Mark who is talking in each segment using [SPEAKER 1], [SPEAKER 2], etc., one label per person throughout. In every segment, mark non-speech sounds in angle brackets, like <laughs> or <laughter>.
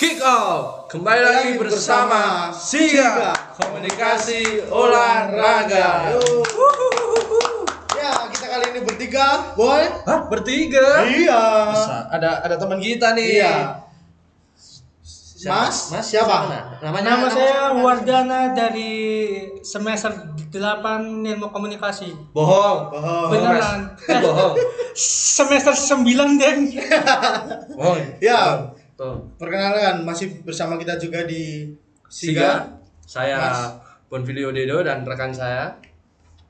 [SPEAKER 1] Kick Off Kembali lagi
[SPEAKER 2] Lagi
[SPEAKER 1] bersama
[SPEAKER 2] bersama
[SPEAKER 1] Siga
[SPEAKER 2] Siga.
[SPEAKER 1] Komunikasi Olahraga
[SPEAKER 2] Yo. Ya, kita kali ini bertiga, boy.
[SPEAKER 1] Hah? Bertiga?
[SPEAKER 2] Iya.
[SPEAKER 1] Masa? Ada ada teman kita nih
[SPEAKER 2] Iya.
[SPEAKER 1] Siapa?
[SPEAKER 2] Mas, siapa?
[SPEAKER 1] Namanya
[SPEAKER 3] Nama saya
[SPEAKER 1] siapa?
[SPEAKER 3] Wardana dari semester 8 Ilmu Komunikasi.
[SPEAKER 1] Bohong
[SPEAKER 2] Bohong.
[SPEAKER 3] Beneran.
[SPEAKER 1] Mas. <laughs> Bohong
[SPEAKER 3] Semester 9, Deng.
[SPEAKER 1] Bohong
[SPEAKER 2] Ya,
[SPEAKER 1] Tuh.
[SPEAKER 2] perkenalkan masih bersama kita juga di Siga,
[SPEAKER 1] Siga Saya
[SPEAKER 2] Mas.
[SPEAKER 1] Bonfilio Dedo dan rekan saya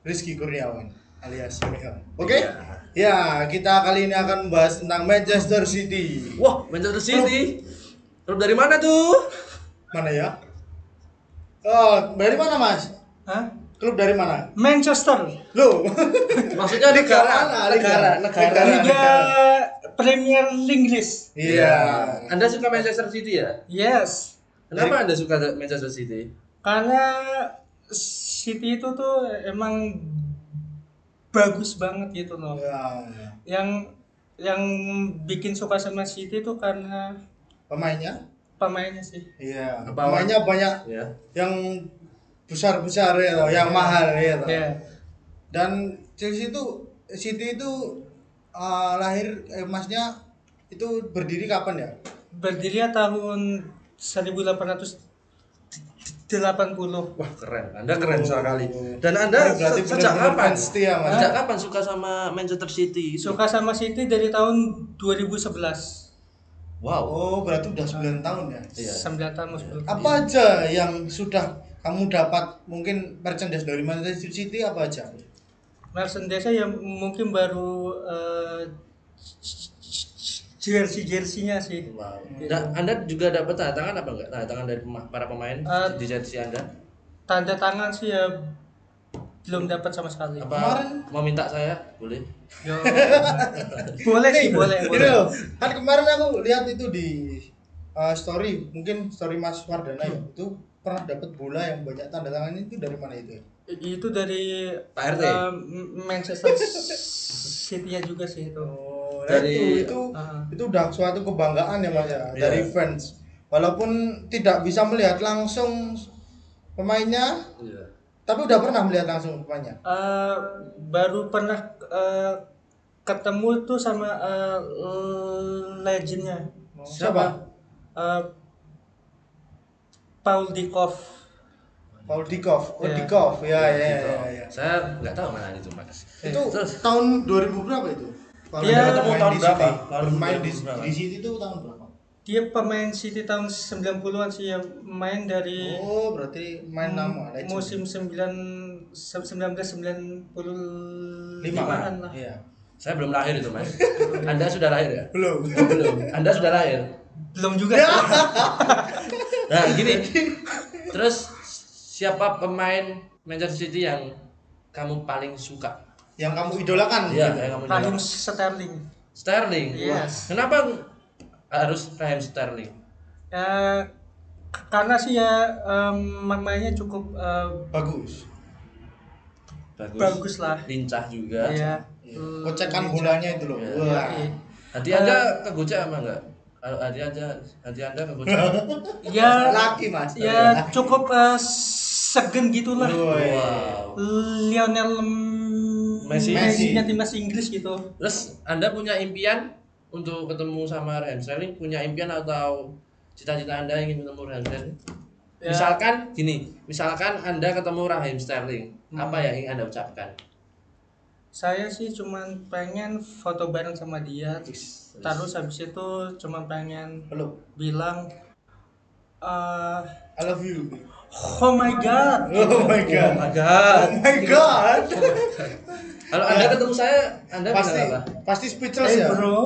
[SPEAKER 2] Rizky Kurniawan alias Mika. Oke? Ya, kita kali ini akan membahas tentang Manchester City.
[SPEAKER 1] Wah Manchester City
[SPEAKER 2] Oh.
[SPEAKER 1] Klub dari mana
[SPEAKER 2] <laughs>
[SPEAKER 1] tuh?
[SPEAKER 2] Mana ya? Oh, dari mana, Mas?
[SPEAKER 3] Hah?
[SPEAKER 2] Klub dari mana?
[SPEAKER 3] Manchester.
[SPEAKER 2] <laughs> Lo.
[SPEAKER 1] Maksudnya negara
[SPEAKER 2] Negara, negara.
[SPEAKER 3] Liga Premier Inggris.
[SPEAKER 2] Iya.
[SPEAKER 1] Anda suka Manchester City ya?
[SPEAKER 3] Yes.
[SPEAKER 1] Kenapa Anda suka Manchester City?
[SPEAKER 3] Karena City itu tuh emang bagus banget gitu loh.
[SPEAKER 2] Ya.
[SPEAKER 3] Yang yang bikin suka sama City itu karena
[SPEAKER 2] Pemainnya?
[SPEAKER 3] pemainnya sih.
[SPEAKER 2] Iya.
[SPEAKER 1] Apa?
[SPEAKER 2] Pemainnya banyak
[SPEAKER 1] Ya.
[SPEAKER 2] yang besar-besar ya toh, yang mahal ya toh.
[SPEAKER 3] Ya.
[SPEAKER 2] Dan Chelsea itu City itu eh, lahir emasnya itu berdiri kapan ya?
[SPEAKER 3] Berdiri tahun 1880.
[SPEAKER 1] Wah keren, Anda keren
[SPEAKER 2] Oh.
[SPEAKER 1] sekali. Dan Anda
[SPEAKER 2] berarti
[SPEAKER 1] se- sejak
[SPEAKER 2] benar-benar
[SPEAKER 1] kapan?
[SPEAKER 2] fans setia ya, Mas.
[SPEAKER 1] Sejak kapan suka sama Manchester City?
[SPEAKER 3] Suka sama City dari tahun 2011.
[SPEAKER 1] Wow.
[SPEAKER 2] Oh, berarti udah 9 tahun ya.
[SPEAKER 1] Iya.
[SPEAKER 3] 9 tahun sebelum.
[SPEAKER 2] Apa aja yang sudah kamu dapat mungkin merchandise dari Manchester City apa aja?
[SPEAKER 3] Merchandise yang mungkin baru eh, jersey-jersinya sih.
[SPEAKER 1] Wow. Dan Anda juga dapat tanda tangan apa enggak? Tanda tangan dari pema- para pemain
[SPEAKER 3] Eh,
[SPEAKER 1] di jersey Anda?
[SPEAKER 3] Tanda tangan sih ya belum dapat sama sekali.
[SPEAKER 1] Apa
[SPEAKER 2] kemarin.
[SPEAKER 1] mau minta saya? Boleh.
[SPEAKER 3] Yo. boleh sih,
[SPEAKER 1] Iya.
[SPEAKER 3] boleh,
[SPEAKER 2] Ini
[SPEAKER 3] boleh.
[SPEAKER 2] loh, kan kemarin aku lihat itu di eh, story, mungkin story Mas Wardana ya, itu pernah dapat bola yang banyak tanda tangannya itu dari mana itu? ya?
[SPEAKER 3] Itu dari
[SPEAKER 1] Pak RT.
[SPEAKER 3] eh, Manchester City-nya juga sih itu.
[SPEAKER 2] Oh,
[SPEAKER 1] Dari-
[SPEAKER 2] dari itu itu,
[SPEAKER 3] Ah.
[SPEAKER 2] itu udah suatu kebanggaan ya mas ya
[SPEAKER 1] uh-huh. Iya.
[SPEAKER 2] dari fans walaupun tidak bisa melihat langsung pemainnya
[SPEAKER 1] Iya.
[SPEAKER 2] tapi udah pernah melihat langsung pemainnya
[SPEAKER 3] Eh, baru pernah eh, ketemu tuh sama eh, legendnya
[SPEAKER 2] siapa
[SPEAKER 3] Eh, Paul Dikov
[SPEAKER 2] Paul Dikov oh
[SPEAKER 3] Iya.
[SPEAKER 2] Dikov ya ya ya,
[SPEAKER 1] Gitu.
[SPEAKER 2] ya, ya.
[SPEAKER 1] Saya nggak tahu mana itu, Mas.
[SPEAKER 2] itu
[SPEAKER 1] Eh, terus.
[SPEAKER 2] tahun 2000 berapa itu Kalau
[SPEAKER 3] Iya.
[SPEAKER 2] dia
[SPEAKER 3] Ketemu
[SPEAKER 2] bermain
[SPEAKER 1] tahun
[SPEAKER 2] di
[SPEAKER 1] berapa?
[SPEAKER 2] City.
[SPEAKER 1] Tahun
[SPEAKER 2] bermain di,
[SPEAKER 1] 2000 berapa?
[SPEAKER 2] di City itu tahun berapa
[SPEAKER 3] dia pemain City tahun 90-an sih yang main
[SPEAKER 1] Iya.
[SPEAKER 3] dari
[SPEAKER 2] oh berarti main
[SPEAKER 1] Hmm,
[SPEAKER 2] nama Oh, legend.
[SPEAKER 3] musim 9 1995
[SPEAKER 2] lima
[SPEAKER 3] an lah
[SPEAKER 2] iya
[SPEAKER 1] Saya belum lahir itu, Mas. Anda sudah lahir ya?
[SPEAKER 2] belum
[SPEAKER 1] Oh, belum. Anda sudah lahir.
[SPEAKER 3] belum juga
[SPEAKER 1] Nah, gini. Terus siapa pemain Manchester City yang kamu paling suka?
[SPEAKER 2] yang kamu idolakan
[SPEAKER 1] Iya, yang kamu suka.
[SPEAKER 3] Raheem Sterling
[SPEAKER 1] Sterling. Wah,
[SPEAKER 3] Yes.
[SPEAKER 1] Kenapa harus Raheem Sterling?
[SPEAKER 3] Ya, k- karena sih ya em, mainnya cukup eh,
[SPEAKER 2] bagus
[SPEAKER 1] Bagus.
[SPEAKER 3] bagus lah
[SPEAKER 1] Lincah juga.
[SPEAKER 3] Iya.
[SPEAKER 2] Iya. kocekan bolanya itu loh
[SPEAKER 1] Hmm. Iya.
[SPEAKER 2] Wah.
[SPEAKER 1] Hati Anda
[SPEAKER 3] Eh.
[SPEAKER 1] kegocek apa enggak? Kalau hati Anda hati Anda kegocek.
[SPEAKER 3] <laughs> Ya
[SPEAKER 2] laki mas
[SPEAKER 3] ya cukup eh, segen gitulah.
[SPEAKER 2] Woi.
[SPEAKER 1] wow.
[SPEAKER 3] Lionel
[SPEAKER 1] Messi.
[SPEAKER 3] Messi Messi-nya timnas Inggris gitu.
[SPEAKER 1] Terus Anda punya impian untuk ketemu sama Raheem Sterling? Punya impian atau cita-cita Anda ingin ketemu Raheem Sterling?
[SPEAKER 3] Ya.
[SPEAKER 1] Misalkan gini, misalkan Anda ketemu Raheem Sterling,
[SPEAKER 2] Hmm.
[SPEAKER 1] apa yang ingin Anda ucapkan?
[SPEAKER 3] Saya sih cuman pengen foto bareng sama dia. Terus habis itu cuman pengen
[SPEAKER 2] Peluk.
[SPEAKER 3] bilang eh,
[SPEAKER 2] I love you.
[SPEAKER 3] oh my
[SPEAKER 2] Oh
[SPEAKER 3] god. Iya,
[SPEAKER 2] my god.
[SPEAKER 1] Agak.
[SPEAKER 2] Oh my god.
[SPEAKER 1] Kalau Anda ketemu saya, Anda
[SPEAKER 2] pasti <laughs>
[SPEAKER 1] bilang apa?
[SPEAKER 2] pasti speechless
[SPEAKER 3] Hey
[SPEAKER 2] ya.
[SPEAKER 3] Eh, bro.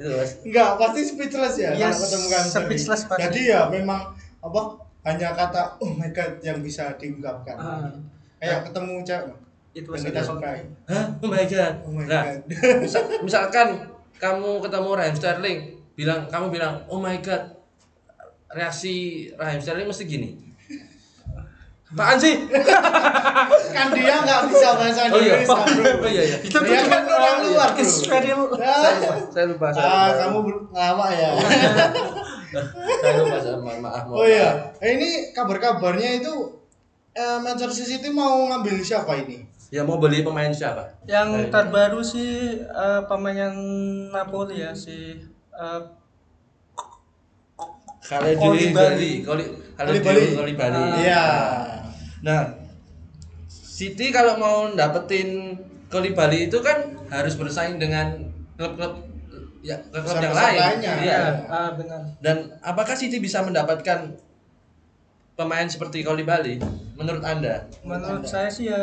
[SPEAKER 1] Itu Mas.
[SPEAKER 2] Enggak, pasti speechless ya
[SPEAKER 3] Yes,
[SPEAKER 2] kalau ketemu kan.
[SPEAKER 3] Iya, speechless pasti.
[SPEAKER 2] Jadi ya memang apa hanya kata oh my god yang bisa diungkapkan.
[SPEAKER 3] Ah,
[SPEAKER 2] Kayak ketemu cewek
[SPEAKER 3] itu
[SPEAKER 2] yang
[SPEAKER 3] saja.
[SPEAKER 2] kita sukai.
[SPEAKER 1] Hah? Oh my god.
[SPEAKER 2] Oh my
[SPEAKER 1] nah,
[SPEAKER 2] god. <laughs>
[SPEAKER 1] misa- misalkan kamu ketemu Raheem Sterling, bilang kamu bilang, "Oh my god." Reaksi Raheem Sterling mesti gini. Apaan sih?
[SPEAKER 2] kan dia enggak bisa bahasa
[SPEAKER 1] Oh iya.
[SPEAKER 2] Inggris,
[SPEAKER 1] Oh,
[SPEAKER 3] <laughs>
[SPEAKER 2] bro.
[SPEAKER 1] iya, iya.
[SPEAKER 3] Itu
[SPEAKER 2] Dia
[SPEAKER 3] bukan
[SPEAKER 2] kan orang luar.
[SPEAKER 3] Israel.
[SPEAKER 2] Bro.
[SPEAKER 1] Ah, Saya lupa, saya lupa.
[SPEAKER 3] Oh,
[SPEAKER 2] Ah, kamu ber- lama ya.
[SPEAKER 1] Saya lupa, saya mohon maaf. mohon
[SPEAKER 2] Oh
[SPEAKER 1] maaf.
[SPEAKER 2] iya, Eh, ini kabar-kabarnya itu eh, Manchester City mau ngambil siapa ini?
[SPEAKER 1] Ya mau beli pemain siapa? Dari-
[SPEAKER 3] Yang terbaru sih eh, pemain yang Napoli ya si eh,
[SPEAKER 1] Kalidou Bali,
[SPEAKER 3] Koulibaly.
[SPEAKER 2] Koulibaly.
[SPEAKER 1] Kalidou Bali.
[SPEAKER 2] Iya.
[SPEAKER 1] Nah, City kalau mau dapetin Kolibali itu kan harus bersaing dengan klub-klub ya klub-klub yang
[SPEAKER 2] Besar-besar
[SPEAKER 1] lain.
[SPEAKER 2] lainnya.
[SPEAKER 1] Iya.
[SPEAKER 3] ah, benar.
[SPEAKER 1] Dan apakah City bisa mendapatkan pemain seperti Kolibali menurut Anda?
[SPEAKER 3] Menurut
[SPEAKER 2] Anda.
[SPEAKER 3] saya sih ya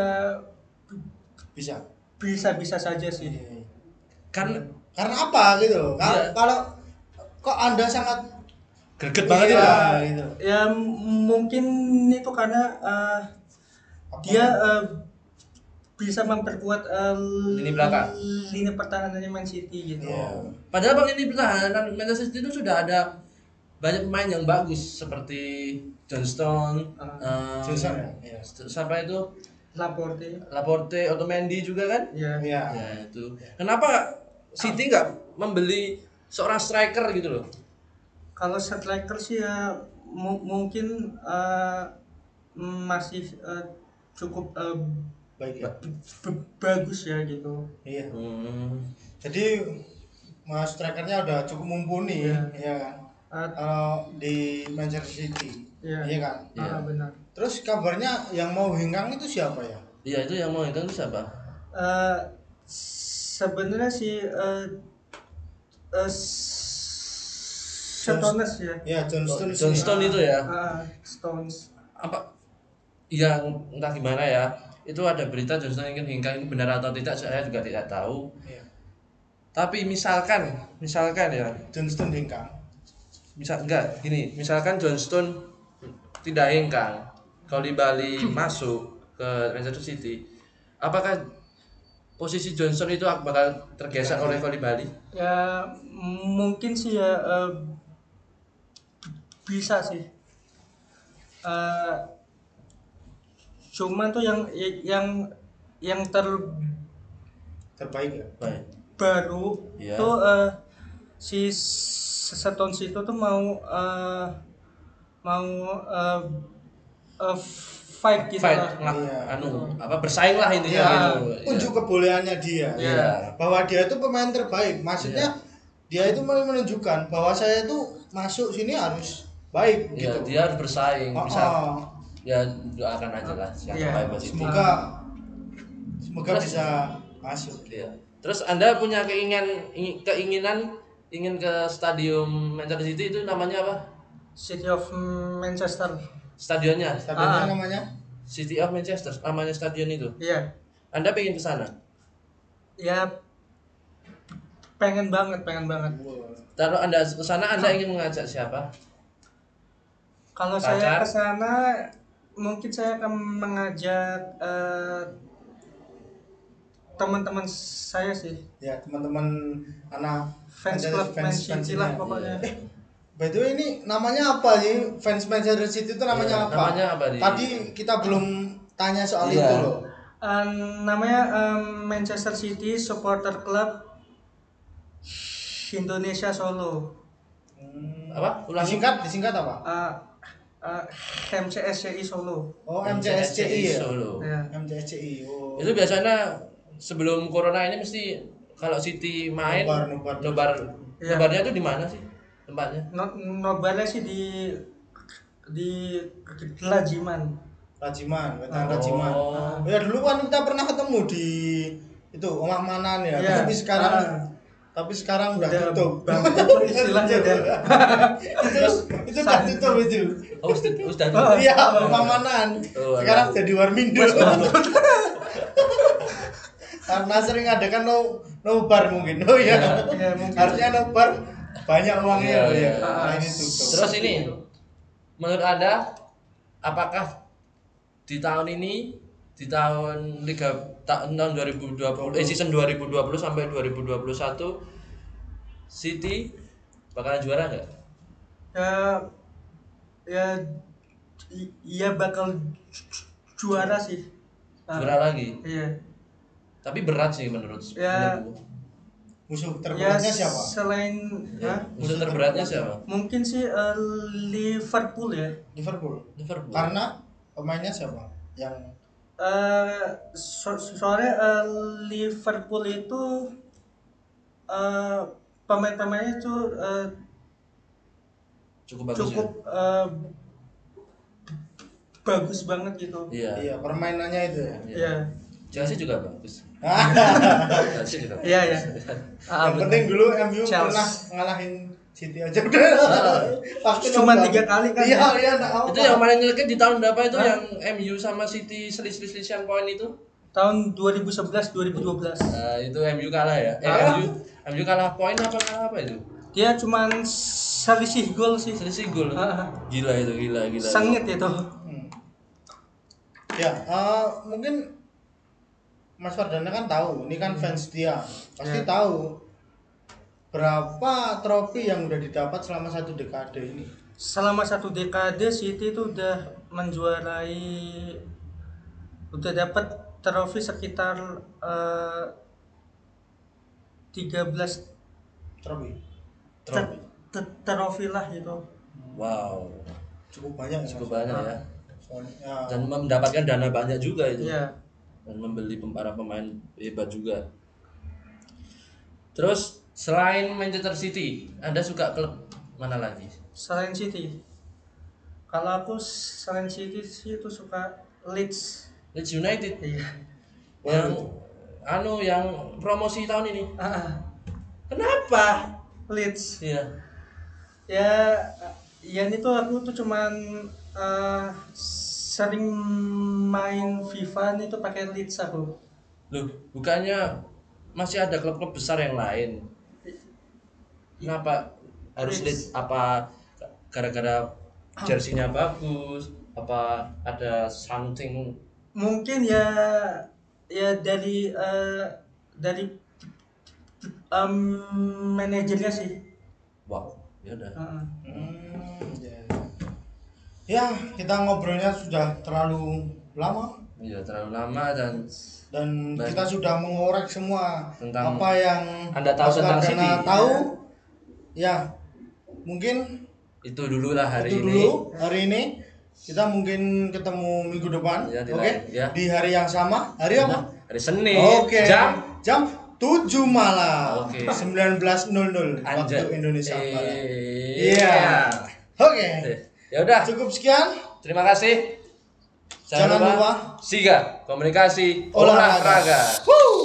[SPEAKER 2] Bisa.
[SPEAKER 3] bisa-bisa saja sih.
[SPEAKER 1] Kan
[SPEAKER 2] Karena apa gitu? Kalau
[SPEAKER 1] Iya.
[SPEAKER 2] kalau kok Anda sangat
[SPEAKER 1] greget banget
[SPEAKER 2] Iya,
[SPEAKER 1] itu.
[SPEAKER 2] gitu.
[SPEAKER 3] Ya m- mungkin itu karena eh,
[SPEAKER 2] Apa? ya?
[SPEAKER 3] dia eh, bisa memperkuat eh,
[SPEAKER 1] Lini belakang.
[SPEAKER 3] lini pertahanannya Man City gitu.
[SPEAKER 2] Iya.
[SPEAKER 1] Padahal bang ini pertahanan kan Manchester City itu sudah ada banyak pemain yang bagus seperti Johnstone,
[SPEAKER 3] Ah.
[SPEAKER 1] eh,
[SPEAKER 2] Johnson ya? Iya.
[SPEAKER 1] siapa itu
[SPEAKER 3] Laporte.
[SPEAKER 1] Laporte, Otamendi juga kan?
[SPEAKER 3] Ya.
[SPEAKER 2] Iya.
[SPEAKER 1] Ya itu. Kenapa City nggak membeli seorang striker gitu loh?
[SPEAKER 3] Kalau striker sih ya mu- mungkin eh, masih eh, cukup eh,
[SPEAKER 2] Baik ya.
[SPEAKER 3] b- b- bagus ya gitu.
[SPEAKER 2] Iya.
[SPEAKER 1] Hmm.
[SPEAKER 2] Jadi mas strikernya udah cukup mumpuni
[SPEAKER 3] Iya.
[SPEAKER 2] ya kan.
[SPEAKER 3] Ah,
[SPEAKER 2] Kalau di Manchester City.
[SPEAKER 3] Iya.
[SPEAKER 2] Iya kan?
[SPEAKER 1] Iya.
[SPEAKER 3] ah, benar.
[SPEAKER 2] Terus kabarnya yang mau hengkang itu siapa ya?
[SPEAKER 1] Iya itu yang mau itu siapa?
[SPEAKER 3] Eh, sebenarnya sih eh eh, s- Stones ya.
[SPEAKER 2] Ya Johnston.
[SPEAKER 1] Johnstone itu ya.
[SPEAKER 3] Ah, Stones.
[SPEAKER 1] Apa? Ya entah gimana ya. Itu ada berita Johnstone ingin hingga ini benar atau tidak saya juga tidak tahu.
[SPEAKER 2] Iya.
[SPEAKER 1] Tapi misalkan, misalkan ya,
[SPEAKER 2] Johnston hengkang.
[SPEAKER 1] bisa enggak gini, misalkan Johnstone tidak hengkang, kalau di Bali masuk ke Manchester City, apakah posisi Johnstone itu bakal
[SPEAKER 2] Iya.
[SPEAKER 1] tergeser oleh Koli Bali?
[SPEAKER 3] Ya mungkin sih ya eh, b- bisa sih. Eh, cuman tuh yang yang yang terbaru
[SPEAKER 2] Terbaik ya.
[SPEAKER 1] Baik. Iya.
[SPEAKER 3] tuh eh, si S- Stones itu tuh mau eh, mau eh, eh, fight gitu
[SPEAKER 1] fight
[SPEAKER 3] lah.
[SPEAKER 1] lah,
[SPEAKER 2] Iya.
[SPEAKER 1] anu apa bersaing lah intinya
[SPEAKER 2] Iya.
[SPEAKER 1] gitu.
[SPEAKER 2] Unjuk kebolehannya dia.
[SPEAKER 1] Iya.
[SPEAKER 2] Bahwa dia itu pemain terbaik. Maksudnya dia itu mulai menunjukkan bahwa saya itu masuk sini harus baik
[SPEAKER 1] Iya,
[SPEAKER 2] gitu.
[SPEAKER 1] dia harus bersaing,
[SPEAKER 2] Oh,
[SPEAKER 1] bisa
[SPEAKER 2] oh.
[SPEAKER 1] ya doakan aja lah siapa
[SPEAKER 3] Iya.
[SPEAKER 1] yang positif.
[SPEAKER 2] Semoga semoga
[SPEAKER 1] Terus-
[SPEAKER 2] bisa masuk.
[SPEAKER 1] Iya. Terus Anda punya keinginan ingin- keinginan ingin ke stadium Manchester City itu namanya apa?
[SPEAKER 3] City of Manchester.
[SPEAKER 1] Stadionnya
[SPEAKER 2] Stadionnya
[SPEAKER 3] Ah.
[SPEAKER 2] namanya?
[SPEAKER 1] City of Manchester namanya stadion itu.
[SPEAKER 3] Iya.
[SPEAKER 1] Anda pengen ke sana?
[SPEAKER 3] Ya pengen banget, pengen banget.
[SPEAKER 1] Taruh Anda ke sana Anda ingin mengajak siapa?
[SPEAKER 3] Kalau
[SPEAKER 1] Pacar?
[SPEAKER 3] saya ke sana mungkin saya akan mengajak eh, teman-teman saya sih.
[SPEAKER 2] Ya, teman-teman anak
[SPEAKER 3] Fans
[SPEAKER 2] Manchester-
[SPEAKER 3] club Man City
[SPEAKER 2] fansnya.
[SPEAKER 3] lah pokoknya.
[SPEAKER 1] Iya.
[SPEAKER 2] By the way ini namanya apa sih? Fans Manchester City itu namanya
[SPEAKER 1] Iya,
[SPEAKER 2] apa?
[SPEAKER 1] namanya apa, Di?
[SPEAKER 2] Tadi kita belum tanya soal
[SPEAKER 1] Iya.
[SPEAKER 2] itu loh.
[SPEAKER 3] Eh, namanya eh, Manchester City Supporter Club Indonesia Solo.
[SPEAKER 1] Apa? Ulangi.
[SPEAKER 2] Disingkat, disingkat apa?
[SPEAKER 3] Eh, eh, MCSCI Solo.
[SPEAKER 2] Oh, MCSCI ya.
[SPEAKER 1] Solo.
[SPEAKER 3] Ya.
[SPEAKER 2] MCSCI. Oh.
[SPEAKER 1] itu biasanya sebelum corona ini mesti kalau City main
[SPEAKER 2] Nobar, nobar.
[SPEAKER 1] nobar
[SPEAKER 3] Iya.
[SPEAKER 1] nobarnya itu di mana sih tempatnya
[SPEAKER 3] No, nobarnya sih di di Lajiman.
[SPEAKER 2] Rajiman, wetan
[SPEAKER 3] Oh.
[SPEAKER 2] Rajiman.
[SPEAKER 1] Oh.
[SPEAKER 2] Oh ya dulu kan kita pernah ketemu di itu Omah Manan ya,
[SPEAKER 3] Iya.
[SPEAKER 2] tapi sekarang
[SPEAKER 3] Ah.
[SPEAKER 2] tapi sekarang udah
[SPEAKER 3] Udah
[SPEAKER 2] tutup. <laughs>
[SPEAKER 3] bangkrut istilahnya udah.
[SPEAKER 2] itu itu udah tutup itu.
[SPEAKER 1] oh sudah sudah
[SPEAKER 3] Oh.
[SPEAKER 2] Iya, Omah Manan.
[SPEAKER 1] Oh,
[SPEAKER 2] Sekarang
[SPEAKER 1] alah.
[SPEAKER 2] jadi Warmindo. Karena sering ada kan no, nobar mungkin. Oh iya.
[SPEAKER 3] Iya, mungkin.
[SPEAKER 2] Harusnya nobar banyak uangnya
[SPEAKER 1] Iya,
[SPEAKER 2] oh
[SPEAKER 1] iya.
[SPEAKER 2] ya. Nah, ini tutup.
[SPEAKER 1] terus ini menurut anda apakah di tahun ini di tahun liga ta- tahun 2020 eh season 2020 sampai 2021 City bakalan juara nggak
[SPEAKER 3] ya ya i- iya bakal ju- ju- juara sih Ah,
[SPEAKER 1] juara lagi
[SPEAKER 3] iya
[SPEAKER 1] tapi berat sih menurut
[SPEAKER 3] Ya.
[SPEAKER 1] menurutku.
[SPEAKER 2] musuh terberatnya
[SPEAKER 3] Ya,
[SPEAKER 2] siapa?
[SPEAKER 3] Selain ya,
[SPEAKER 1] Musuh terberatnya siapa?
[SPEAKER 3] mungkin sih eh, Liverpool ya.
[SPEAKER 2] Liverpool.
[SPEAKER 1] Liverpool.
[SPEAKER 3] Kan
[SPEAKER 2] Karena pemainnya siapa? Yang
[SPEAKER 3] eh so- soalnya eh, Liverpool itu eh, pemain-pemainnya itu eh,
[SPEAKER 1] Cukup bagus.
[SPEAKER 3] cukup
[SPEAKER 1] Ya?
[SPEAKER 3] eh, bagus banget gitu.
[SPEAKER 1] Iya.
[SPEAKER 2] iya permainannya itu ya. Ah,
[SPEAKER 1] Iya.
[SPEAKER 3] Iya.
[SPEAKER 1] Chelsea juga bagus.
[SPEAKER 3] <laughs> Ya,
[SPEAKER 1] Chelsea juga.
[SPEAKER 3] Iya ya.
[SPEAKER 1] Ah,
[SPEAKER 2] yang penting dulu MU
[SPEAKER 3] Chelsea.
[SPEAKER 2] pernah ngalahin City aja udah. Pasti
[SPEAKER 3] Cuma
[SPEAKER 2] nonton.
[SPEAKER 3] tiga kali kan,
[SPEAKER 2] Iya,
[SPEAKER 3] ya?
[SPEAKER 2] iya enggak apa.
[SPEAKER 1] Itu yang kemarin nyelekit di tahun berapa itu
[SPEAKER 3] Hah?
[SPEAKER 1] yang MU sama City selisih-selisihan poin itu?
[SPEAKER 3] Tahun 2011 2012.
[SPEAKER 1] Nah, itu MU kalah ya. Eh,
[SPEAKER 2] Kalah.
[SPEAKER 1] MU MU kalah poin apa kalah apa itu?
[SPEAKER 3] Dia cuman selisih gol sih.
[SPEAKER 1] Selisih gol.
[SPEAKER 3] Ah,
[SPEAKER 1] Gila itu, gila, gila.
[SPEAKER 3] Sengit itu.
[SPEAKER 2] Hmm. Ya, eh, mungkin Mas Fardana kan tahu, ini kan fans dia. Pasti
[SPEAKER 3] Hmm. Ya.
[SPEAKER 2] tahu berapa trofi yang udah didapat selama satu dekade ini.
[SPEAKER 3] Selama satu dekade City itu udah menjuarai udah dapat trofi sekitar eh, 13
[SPEAKER 2] Trofi
[SPEAKER 1] Trofi.
[SPEAKER 3] t- t- trofi lah gitu.
[SPEAKER 1] Wow,
[SPEAKER 2] cukup banyak ya,
[SPEAKER 1] cukup
[SPEAKER 2] Mas?
[SPEAKER 1] banyak ya.
[SPEAKER 2] Soalnya
[SPEAKER 1] Dan mendapatkan dana banyak juga itu.
[SPEAKER 3] Iya.
[SPEAKER 1] Dan membeli pem- para pemain hebat juga. Terus selain Manchester City, Anda suka klub mana lagi?
[SPEAKER 3] Selain City. Kalau aku selain City sih itu suka Leeds.
[SPEAKER 1] Leeds United
[SPEAKER 3] Iya.
[SPEAKER 1] yang anu yang promosi tahun ini.
[SPEAKER 3] Ah, ah.
[SPEAKER 1] Kenapa?
[SPEAKER 3] Leeds.
[SPEAKER 1] Iya.
[SPEAKER 3] ya Ian itu aku tuh cuman eh, sering main FIFA nih tuh pakai Leeds aku
[SPEAKER 1] Loh, bukannya masih ada klub-klub besar yang lain? Kenapa harus Leeds? Apa gara-gara jersinya bagus? Apa ada something?
[SPEAKER 3] mungkin ya ya dari eh, dari em, manajernya sih
[SPEAKER 1] Wow, ya udah.
[SPEAKER 3] Heeh.
[SPEAKER 2] Hmm, ya. ya, kita ngobrolnya sudah terlalu lama
[SPEAKER 1] Iya, terlalu lama dan
[SPEAKER 2] dan
[SPEAKER 1] Baik.
[SPEAKER 2] kita sudah mengorek semua
[SPEAKER 1] Tentang-
[SPEAKER 2] apa yang
[SPEAKER 1] Anda tahu
[SPEAKER 2] Mas
[SPEAKER 1] tentang
[SPEAKER 2] Wardana
[SPEAKER 1] Siti.
[SPEAKER 2] tahu. Ya, mungkin
[SPEAKER 1] itu dululah hari
[SPEAKER 2] itu
[SPEAKER 1] ini.
[SPEAKER 2] dulu hari ini kita mungkin ketemu minggu depan
[SPEAKER 1] Ya, di
[SPEAKER 2] oke
[SPEAKER 1] lain, ya.
[SPEAKER 2] di hari yang sama hari apa
[SPEAKER 1] Hari Senin.
[SPEAKER 2] oke
[SPEAKER 1] Jam
[SPEAKER 2] jam 7 malam
[SPEAKER 1] Oke.
[SPEAKER 2] 19.00 waktu
[SPEAKER 1] Anjay. Iya.
[SPEAKER 2] Indonesia Barat
[SPEAKER 1] Eh,
[SPEAKER 2] iya oke
[SPEAKER 1] Ya udah.
[SPEAKER 2] cukup sekian
[SPEAKER 1] Terima kasih.
[SPEAKER 2] Jangan lupa.
[SPEAKER 1] siga komunikasi
[SPEAKER 2] Olahraga.
[SPEAKER 1] olahraga.
[SPEAKER 2] Woo!